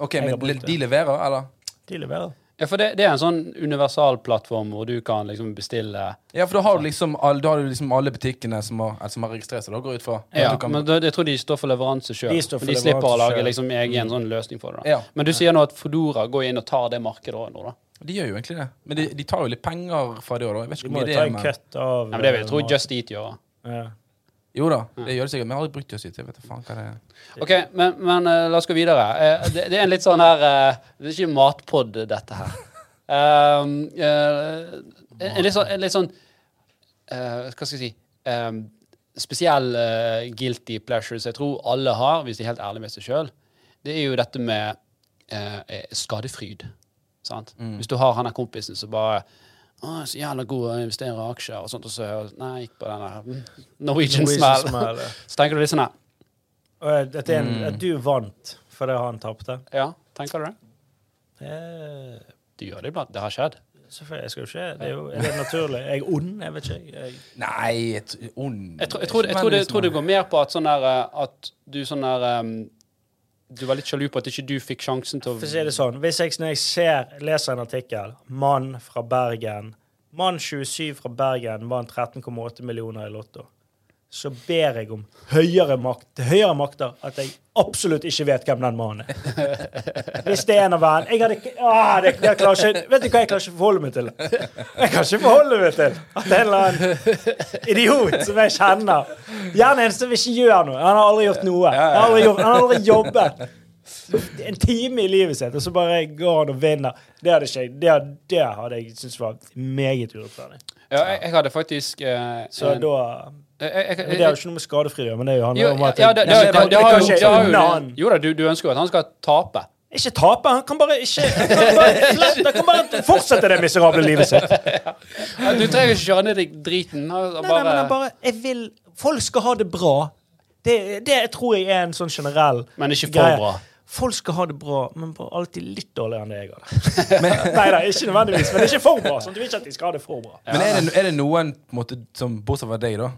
S3: Ok,
S2: Jeg har
S3: men
S2: brukt det.
S3: le- de leverer, eller?
S2: De leverer.
S1: Ja, for det, det er en sånn universalplattform hvor du kan liksom bestille
S3: Ja, for da har du
S2: Sånn.
S3: liksom, all, da har du liksom alle butikkene som har, eller som har registrert seg, da går jeg ut fra.
S1: Ja,
S3: Du kan-
S1: men da- Jeg tror de står for leveranse sjøl.
S2: De står for
S1: Men de slipper å
S2: leveranse
S1: lage
S2: selv. Mm.
S1: liksom egen sånn løsning for det. da.
S3: Ja.
S1: Men du sier nå at Fodora går inn og tar det markedet òg nå, da?
S3: de gjør jo egentlig det. Men de, de tar jo litt penger fra det òg, da. Jeg vet
S2: Du
S3: ikke
S2: må
S3: hvor mye
S2: jo
S3: det
S2: ta
S3: er,
S2: en
S3: men
S2: cut av
S1: Nei, men det vil jeg tro
S2: eh,
S1: Just Eat gjør. da.
S2: ja.
S3: Jo da, det gjør det sikkert. Men jeg har aldri brukt det å si til, jeg vet da faen hva det er.
S1: Ok, men, men eh, la oss gå videre. Eh, det, det er en litt sånn her eh, Det er ikke matpod, dette her. Um, eh, en, en litt sånn, en litt sånn eh, Hva skal jeg si um, Spesiell eh, guilty pleasures jeg tror alle har, hvis de er helt ærlige med seg sjøl, det er jo dette med eh, eh, skadefryd. Sant? Hvis du har han der kompisen som bare å, 'Så jævla god å investere i aksjer', og sånt, og så Nei, ikke på den der mm, Norwegian,
S2: Norwegian
S1: smell.
S2: smell, ja.
S1: så tenker du litt sånn her.
S2: Og at, det er en,
S1: Mm.
S2: at du vant fordi han tapte
S1: Ja, tenker du det?
S2: Eh,
S1: Du gjør det iblant. Det har skjedd.
S2: Selvfølgelig. Jeg skal jo ikke det er, jo, er det naturlig? Er jeg ond? Jeg vet ikke. Jeg,
S3: Nei, et, ond
S1: Jeg tror, jeg tror, det- jeg tror, det, jeg tror det går mer på at, sånn der, eh, at du sånn der em, Du var litt sjalu på at ikke du fikk sjansen til å
S2: for å si det sånn, hvis jeg, når jeg ser, leser en artikkel 'Mann fra Bergen' Mann 27 fra Bergen vant 13,8 millioner i Lotto. Så ber jeg om høyere makt, til høyere makter at jeg absolutt ikke vet hvem den mannen er. Hvis det er en av verden Jeg hadde ikke ah, det, jeg klarer ikke, Vet du hva, jeg klarer ikke å forholde meg til det. Jeg kan ikke forholde meg til at en eller annen idiot som jeg kjenner Gjerne en som ikke gjør noe. Han har aldri gjort noe. Han har aldri, jobb, han har aldri jobbet. En time i livet sitt, og så bare går han og vinner. Det hadde, ikke, jeg- det hadde, det hadde jeg syntes var meget urettferdig.
S1: Ja, jeg, jeg hadde faktisk eh,
S2: Så
S1: en-
S2: da
S1: jeg, jeg,
S2: men
S1: jeg,
S2: Det er jo ikke noe med skadefri å gjøre, men det er jo handler
S1: Jo,
S2: om at
S1: ja, det- det-
S2: jeg,
S1: det- det- det har
S2: kan
S1: jo-
S2: ikke
S1: det har jo-
S2: unne han.
S1: Jo da, du, du ønsker jo at han skal tape.
S2: Ikke tape, han kan bare ikke Han kan bare, slett- han kan bare fortsette det miserable livet
S1: [LAUGHS]
S2: sitt.
S1: Ja, Du trenger ikke kjøre ned i driten. han- han
S2: Nei, nei, men
S1: Bare,
S2: han bare Jeg vil Folk skal ha det bra. Det, det tror jeg er en sånn generell
S1: men ikke for
S2: greie.
S1: bra.
S2: Folk skal ha det bra, men bare alltid litt dårligere enn det jeg [LAUGHS] har det. Nei da, ikke nødvendigvis, men ikke for bra. Sånn, du vil ikke at de skal ha det for bra.
S3: Men er det, er det noen, på en måte, som, bortsett fra deg, da,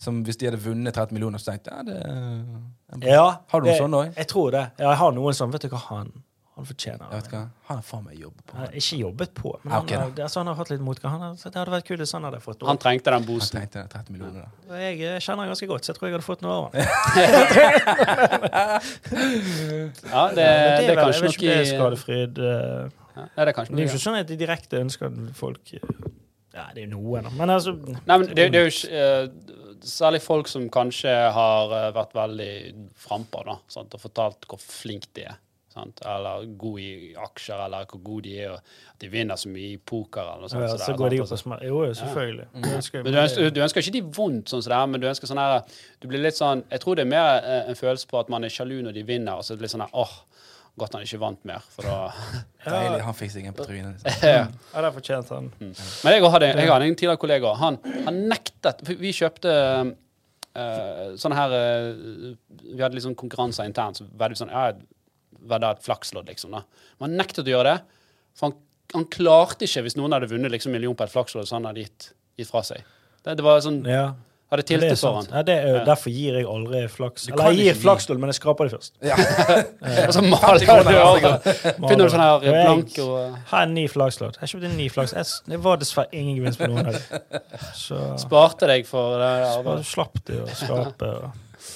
S3: som hvis de hadde vunnet 30 millioner, så tenkte jeg ja, det
S2: Ja,
S3: Har du noen
S2: det-
S3: sånne også?
S2: Jeg tror det. Ja, jeg har noen sånn. Vet du hva han, han fortjener?
S3: Jeg vet ikke, hva. Han har faen meg jobb på.
S2: Han har ikke jobbet på, men
S3: Ja, ok,
S2: han, har, altså, han har hatt litt motgang. Han har, så det hadde vært kult hvis han hadde fått
S1: Han
S2: noe.
S1: trengte den
S3: Han
S1: boosten.
S3: trengte 30 millioner, da.
S2: Jeg eh, kjenner han ganske godt, så jeg tror jeg hadde fått noe av han.
S1: Ja, det,
S2: Men
S1: det,
S2: er vel-
S1: kan
S2: jeg
S1: ikke
S2: vet
S1: nok
S2: ikke om det er
S1: i
S2: skadefryd. eh,
S1: ja, Nei, det kan ikke
S2: Det er jo
S1: noe i-
S2: ikke sånn at de direkte ønsker at folk eh, Ja, det er jo noen, da. Men altså
S1: Nei, men det, det er jo ikke eh, Særlig folk som kanskje har eh, vært veldig frampå da, sant? og fortalt hvor flink de er. Sant? Eller god i aksjer, eller hvor god de er, og at de vinner så mye i poker. Eller noe sånt,
S2: ja,
S1: så
S2: Så
S1: der,
S2: går de
S1: sant?
S2: opp og smaker. Jo, jo, selvfølgelig. Det ønsker jeg,
S1: Men du, ønsker, du ønsker ikke de vondt, sånn som det er, men du ønsker sånn her Du blir litt sånn Jeg tror det er mer eh, en følelse på at man er sjalu når de vinner, og så er det litt sånn her åh, godt han ikke vant mer, for da
S3: Deilig. Han fikk seg en på trynet. Liksom.
S2: Ja, det fortjente han.
S1: Men jeg hadde, jeg hadde en tidligere kollega. Han, han nektet for Vi kjøpte eh, sånne her eh, Vi hadde liksom konkurranser internt. Så var det sånn, ja, var det et flakslodd, liksom. da. Men han nektet å gjøre det. For han, han klarte ikke, hvis noen hadde vunnet liksom, million på et flakslodd, så han hadde gitt, gitt fra seg. Det, det var sånn,
S2: Ja.
S1: Hadde
S2: Det er
S1: tiltet for
S2: sant.
S1: han.
S2: Ja, det er, jo-
S1: Ja.
S2: Derfor gir jeg aldri flaks.
S3: Du
S2: Eller
S3: kan
S2: jeg gir
S3: ikke gi.
S2: flakslodd, men jeg skraper det først.
S3: Ja. [LAUGHS]
S1: Og så
S2: [LAUGHS]
S1: maler du over. sånn Finner du sånn her
S2: Og jeg-
S1: blank og eh,
S2: Her er ni flakslodd. Jeg kjøpte ni flaks. Jeg, s- det var dessverre ingen gevinst på noen av dem. Så
S1: Sparte deg for det
S2: bare
S1: arbeidet.
S2: slapp de å skrape. Og.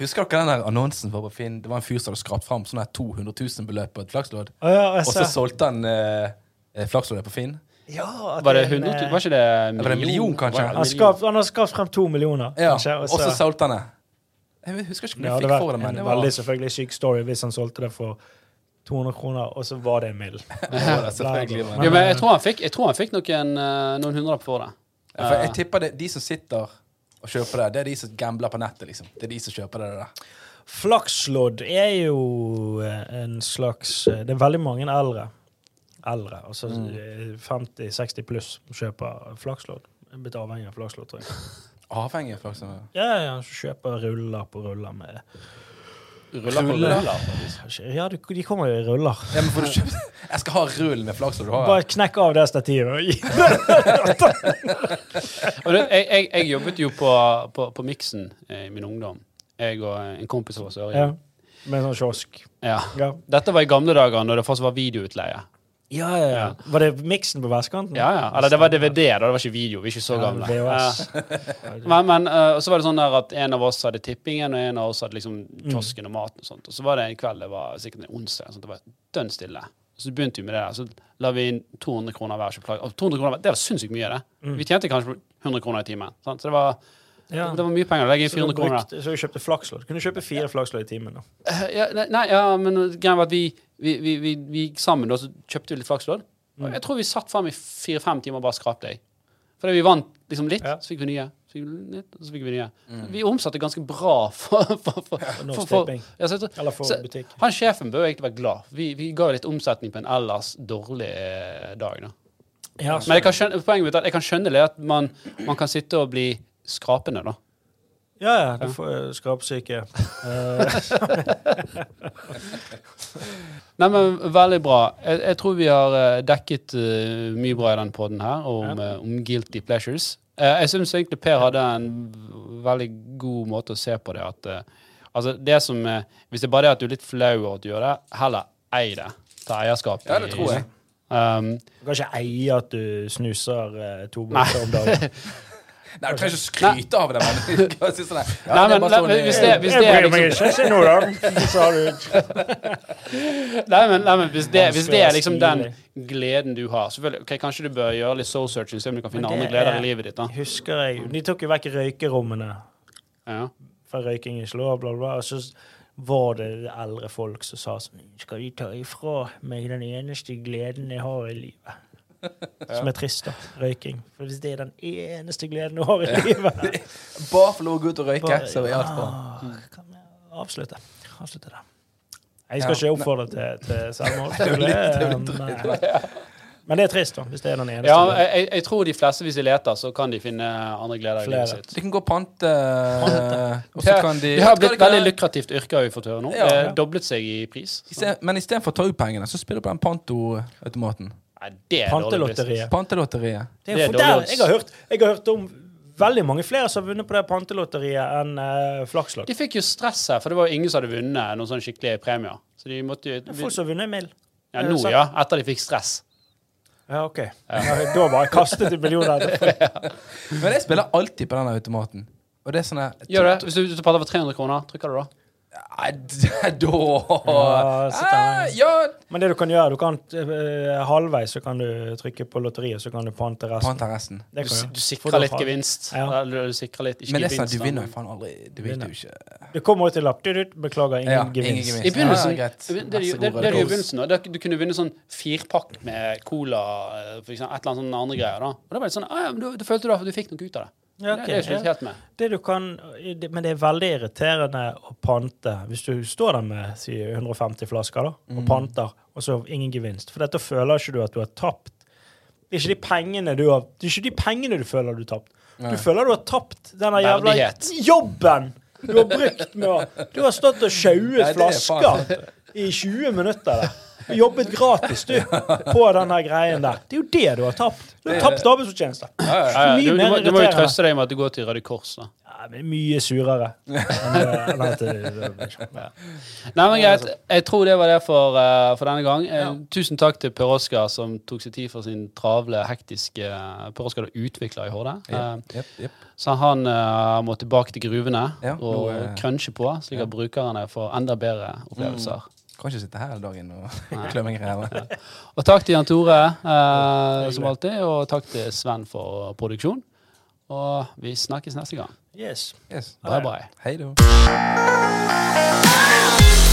S3: Husker dere den der annonsen på på Finn? Det var en fyr som hadde skrapt fram sånn her 200 000 beløp på et flakslodd,
S2: Å ja, jeg
S3: og så
S2: ser.
S3: solgte han eh, eh, flaksloddet på Finn.
S2: Ja, at
S1: Var det
S2: en,
S1: 100 000?
S2: eh,
S1: Var ikke det
S3: Eller en million, kanskje?
S1: Var det en
S2: Han,
S1: million?
S2: skap, han har skapt frem to millioner,
S3: Ja,
S2: kanskje.
S3: og
S2: Og
S3: så
S2: så,
S3: solgte han det. Jeg husker ikke om
S2: det
S3: jeg
S2: hadde
S3: fikk for
S2: vært
S3: det, men
S2: en
S3: det var,
S2: veldig selvfølgelig syk story hvis han solgte det for 200 kroner, og så var det en
S3: [LAUGHS]
S2: middel.
S3: det var det selvfølgelig. Men,
S1: Ja, men eh, jeg tror han fikk, jeg tror han fikk noen, eh, noen hundrelapper for det.
S3: ja, for
S1: Ah.
S3: jeg tipper det, de som sitter og kjøper det, det er de som gambler på nettet, liksom. Det er de som kjøper det der.
S2: Flakslodd er jo eh, en slags eh, Det er veldig mange eldre. Eldre, altså
S1: Mm.
S2: eh, 50-60 pluss, som kjøper flakslodd. Jeg er Blitt avhengig av flakslodd, tror jeg.
S3: Avhengig av flaksloddet.
S2: Ja, ja, så kjøper ruller på ruller med
S1: Ruller på
S3: Ruller.
S1: ruller.
S2: Ja, du, de kommer jo i ruller.
S3: Ja, men får du kjøpt Jeg skal ha rullen med flakslodd du har.
S2: Bare knekk av det stativet. og gi-
S1: Og det, jeg, jeg, jeg jobbet jo på, på, på Miksen eh, i min ungdom. Jeg og eh, en kompis av oss.
S2: Ja,
S1: Ørjan.
S2: med en sånn kiosk.
S1: Ja.
S2: Ja.
S1: Dette var i gamle dager, når det fortsatt var videoutleie.
S2: Ja, ja, ja. Var det miksen på vestkanten?
S1: Ja, ja. Eller det var DVD, da. Det var ikke video. Vi er ikke så
S2: Ja,
S1: gamle.
S2: VHS.
S1: Eh, Men, men eh, og så var det sånn der at en av oss hadde tippingen, og en av oss hadde liksom
S2: Mm.
S1: kiosken og maten. Og sånt. Og så var det en kveld, det var sikkert en onsdag, sånt, det var dønn stille. Så begynte vi med det der. Så la vi inn 200 kroner hver. så plagg- Og 200 kroner, hver- Det var sinnssykt mye, det. Vi tjente kanskje 100 kroner i timen. sant? Så det var,
S2: Mm. Ja.
S1: det var mye penger. å Legge inn
S2: Så du,
S1: 400 kroner.
S2: brukte, så du kjøpte flakslodd? Kunne du kjøpe fire flakslodd i timen? da?
S1: Eh, Ja, nei- nei, ja, men greia var at vi, vi, vi, vi, vi gikk sammen og så kjøpte vi litt flakslodd.
S2: Mm.
S1: Og Jeg tror vi satt frem i fire-fem timer og bare skrapte i. Fordi vi vant liksom litt,
S2: Ja. Mm.
S1: så fikk vi nye. Så fikk vi litt, og så fikk vi nye. Vi omsatte ganske bra for, for, for,
S2: Norsk
S1: for, for,
S2: Tipping.
S1: ja, så, jeg tror-
S2: Eller for
S1: så-
S2: butikk?
S1: Han sjefen bør egentlig være glad. Vi, vi ga jo litt omsetning på en ellers dårlig eh, dag. Da.
S2: Ja,
S1: Men jeg kan skjønne, poenget mitt er at jeg kan skjønne litt at man, man kan sitte og bli skrapende, da.
S2: Ja, ja, du får eh, skrapsyke. Eh,
S1: Nei, men Veldig bra. Jeg, jeg tror vi har eh, dekket eh, mye bra i den podden her, og om, eh, om guilty pleasures. Eh, jeg syns egentlig Per hadde en v- veldig god måte å se på det. At, eh, altså det som, eh, hvis det bare er at du er litt flau over at du gjør det, heller ei det. Ta eierskap.
S3: Ja, det tror jeg.
S1: Um,
S2: [LAUGHS] du kan ikke eie at du snuser eh, to bokser om dagen.
S3: Nei, du trenger ikke skryte av det, men [LAUGHS] du kan si sånn her, ja,
S1: Nei,
S3: det er
S1: men
S3: bare
S1: la- [LAUGHS]
S3: sånn,
S1: hvis
S3: eh,
S1: det- hvis det er liksom
S2: ikke. Se nå,
S1: [LAUGHS]
S2: da. Så har du
S1: Nei, men, nei, men hvis, det, hvis det er liksom den
S2: Vanskelig
S1: gleden du har selvfølgelig, ok, Kanskje du bør gjøre litt soul searching, se om du kan finne
S2: Men
S1: andre
S2: det
S1: gleder
S2: er-
S1: i livet ditt. da.
S2: Husker jeg De tok jo vekk røykerommene,
S1: Ja.
S2: for røyking er ikke lov, bla, bla. Og så var det eldre folk som sa sånn Skal de ta ifra meg den eneste gleden jeg har i livet? Som er trist, da. Røyking. For hvis det er den eneste gleden du har i livet
S3: Bare få lov å gå ut og røyke,
S2: Bare-
S3: så er alt bra.
S2: Ah, Kan jeg avslutte? Avslutte det. Jeg skal ikke oppfordre til, til selvmord.
S3: [LAUGHS] Det er jo litt- det er jo litt
S2: men, eh,
S3: drøyt,
S2: men det er trist, da, hvis det er den eneste.
S1: Ja, jeg, jeg- jeg tror de fleste, hvis de leter, så kan de finne andre gleder i
S2: Flere.
S1: livet sitt.
S3: De kan gå og pante, eh, og så
S1: Ja,
S3: kan de
S1: det har
S3: Vet du hva
S1: blitt
S3: de kan
S1: veldig
S3: gjøre?
S1: lukrativt yrke, har vi fått høre nå.
S3: Ja.
S1: det har doblet seg i pris.
S3: I sted- Men istedenfor å ta ut pengene, så spiller du på den pantoautomaten.
S1: Nei, det er dårlig business.
S2: Pantelotteriet.
S3: Pantelotteriet.
S2: Det er
S1: Det er
S2: for der,
S1: dårlig odds.
S2: jeg, har hørt, jeg har hørt om veldig mange flere som har vunnet på det pantelotteriet enn uh, flakslodd.
S1: De fikk jo stress her, for det var jo ingen som hadde vunnet noen sånne skikkelige premier. Så de måtte jo
S2: Det er Folk som har vunnet en mil.
S1: Ja, nå, ja. Etter de fikk stress.
S2: Ja, OK. Ja, da bare kastet de millioner etterpå.
S3: Men jeg spiller alltid på den automaten. Og det er sånn her-
S1: Gjør det. Hvis du, hvis du prater for 300 kroner, trykker du da?
S3: Nei, d- [LAUGHS] da
S2: Ja, så tar
S3: Eh,
S2: jeg-
S3: Ja,
S2: Men det du kan gjøre, du kan eh, halvveis så kan du trykke på lotteriet, så kan du pante resten.
S3: panta resten.
S2: Det
S1: Du,
S2: kan
S1: s-
S2: gjøre.
S1: du
S2: For da
S1: sikrer litt
S2: har-
S1: gevinst.
S2: Ja.
S1: Eller du sikrer litt ikke
S3: Men det er sånn,
S1: gevinst,
S3: du
S1: da,
S3: vinner jo
S1: men-
S3: faen aldri. Du vet jo ikke
S2: Det kommer ut en lapp. Du, du, beklager, ingen
S3: Ja,
S2: gevinst.
S3: ingen gevinst.
S1: I begynnelsen,
S3: Ja,
S1: det,
S3: greit.
S1: det, det,
S3: Vær så
S1: det,
S3: god,
S1: det er jo i
S3: Rødkors.
S1: begynnelsen da. Det- Du kunne vinne sånn firpakk med cola, eh, for eksempel, et eller annet sånn andre greier. da. Og da var det sånn, ah, ja, men du, du følte da at du fikk noe ut av det.
S2: Ja,
S1: Det-
S2: ok,
S1: det er jo ikke
S2: ja.
S1: helt med.
S2: Det du kan, det- men det er veldig irriterende å pante hvis du står der med si, 150 flasker da,
S1: Mm.
S2: og panter, og så ingen gevinst. For dette føler ikke du at du har tapt. Det er ikke de pengene du, har, det er ikke de pengene du føler du har tapt. Du føler du har tapt denne jævla
S1: Verdighet.
S2: jobben du har brukt med å Du har stått og
S3: Nei,
S2: sjauet
S3: det er faen
S2: flasker i 20 minutter. der. Jobbet gratis, du, på den her greien der. Det er jo det du har tapt. Du har tapt arbeidsfortjeneste.
S1: Ja, ja,
S2: Mye
S1: du, du,
S2: mer
S1: må, du må jo
S2: irriterende.
S1: trøste deg med at du går til Røde Kors. da.
S2: Ja, men mye surere. enn det- enn at det- Ja.
S1: Nei, men greit. Jeg tror det var det for, eh, for denne gang. Eh, Tusen takk til Per Oskar, som tok seg tid for sin travle, hektiske eh, Per Oskar er utvikler i Horde. Eh,
S3: Jepp, jepp.
S1: Så han eh, må tilbake til gruvene
S3: Ja,
S1: og
S3: nå, eh,
S1: crunche på, slik at brukerne får enda bedre opplevelser.
S3: Kan ikke sitte her hele dagen og [LAUGHS] klemme greier.
S1: Og takk til Jan Tore, eh, som alltid, og takk til Sven for produksjon. Og vi snakkes neste gang.
S2: Yes.
S3: Yes.
S1: Bye, bye.
S3: Hei, du.
S4: Thank you.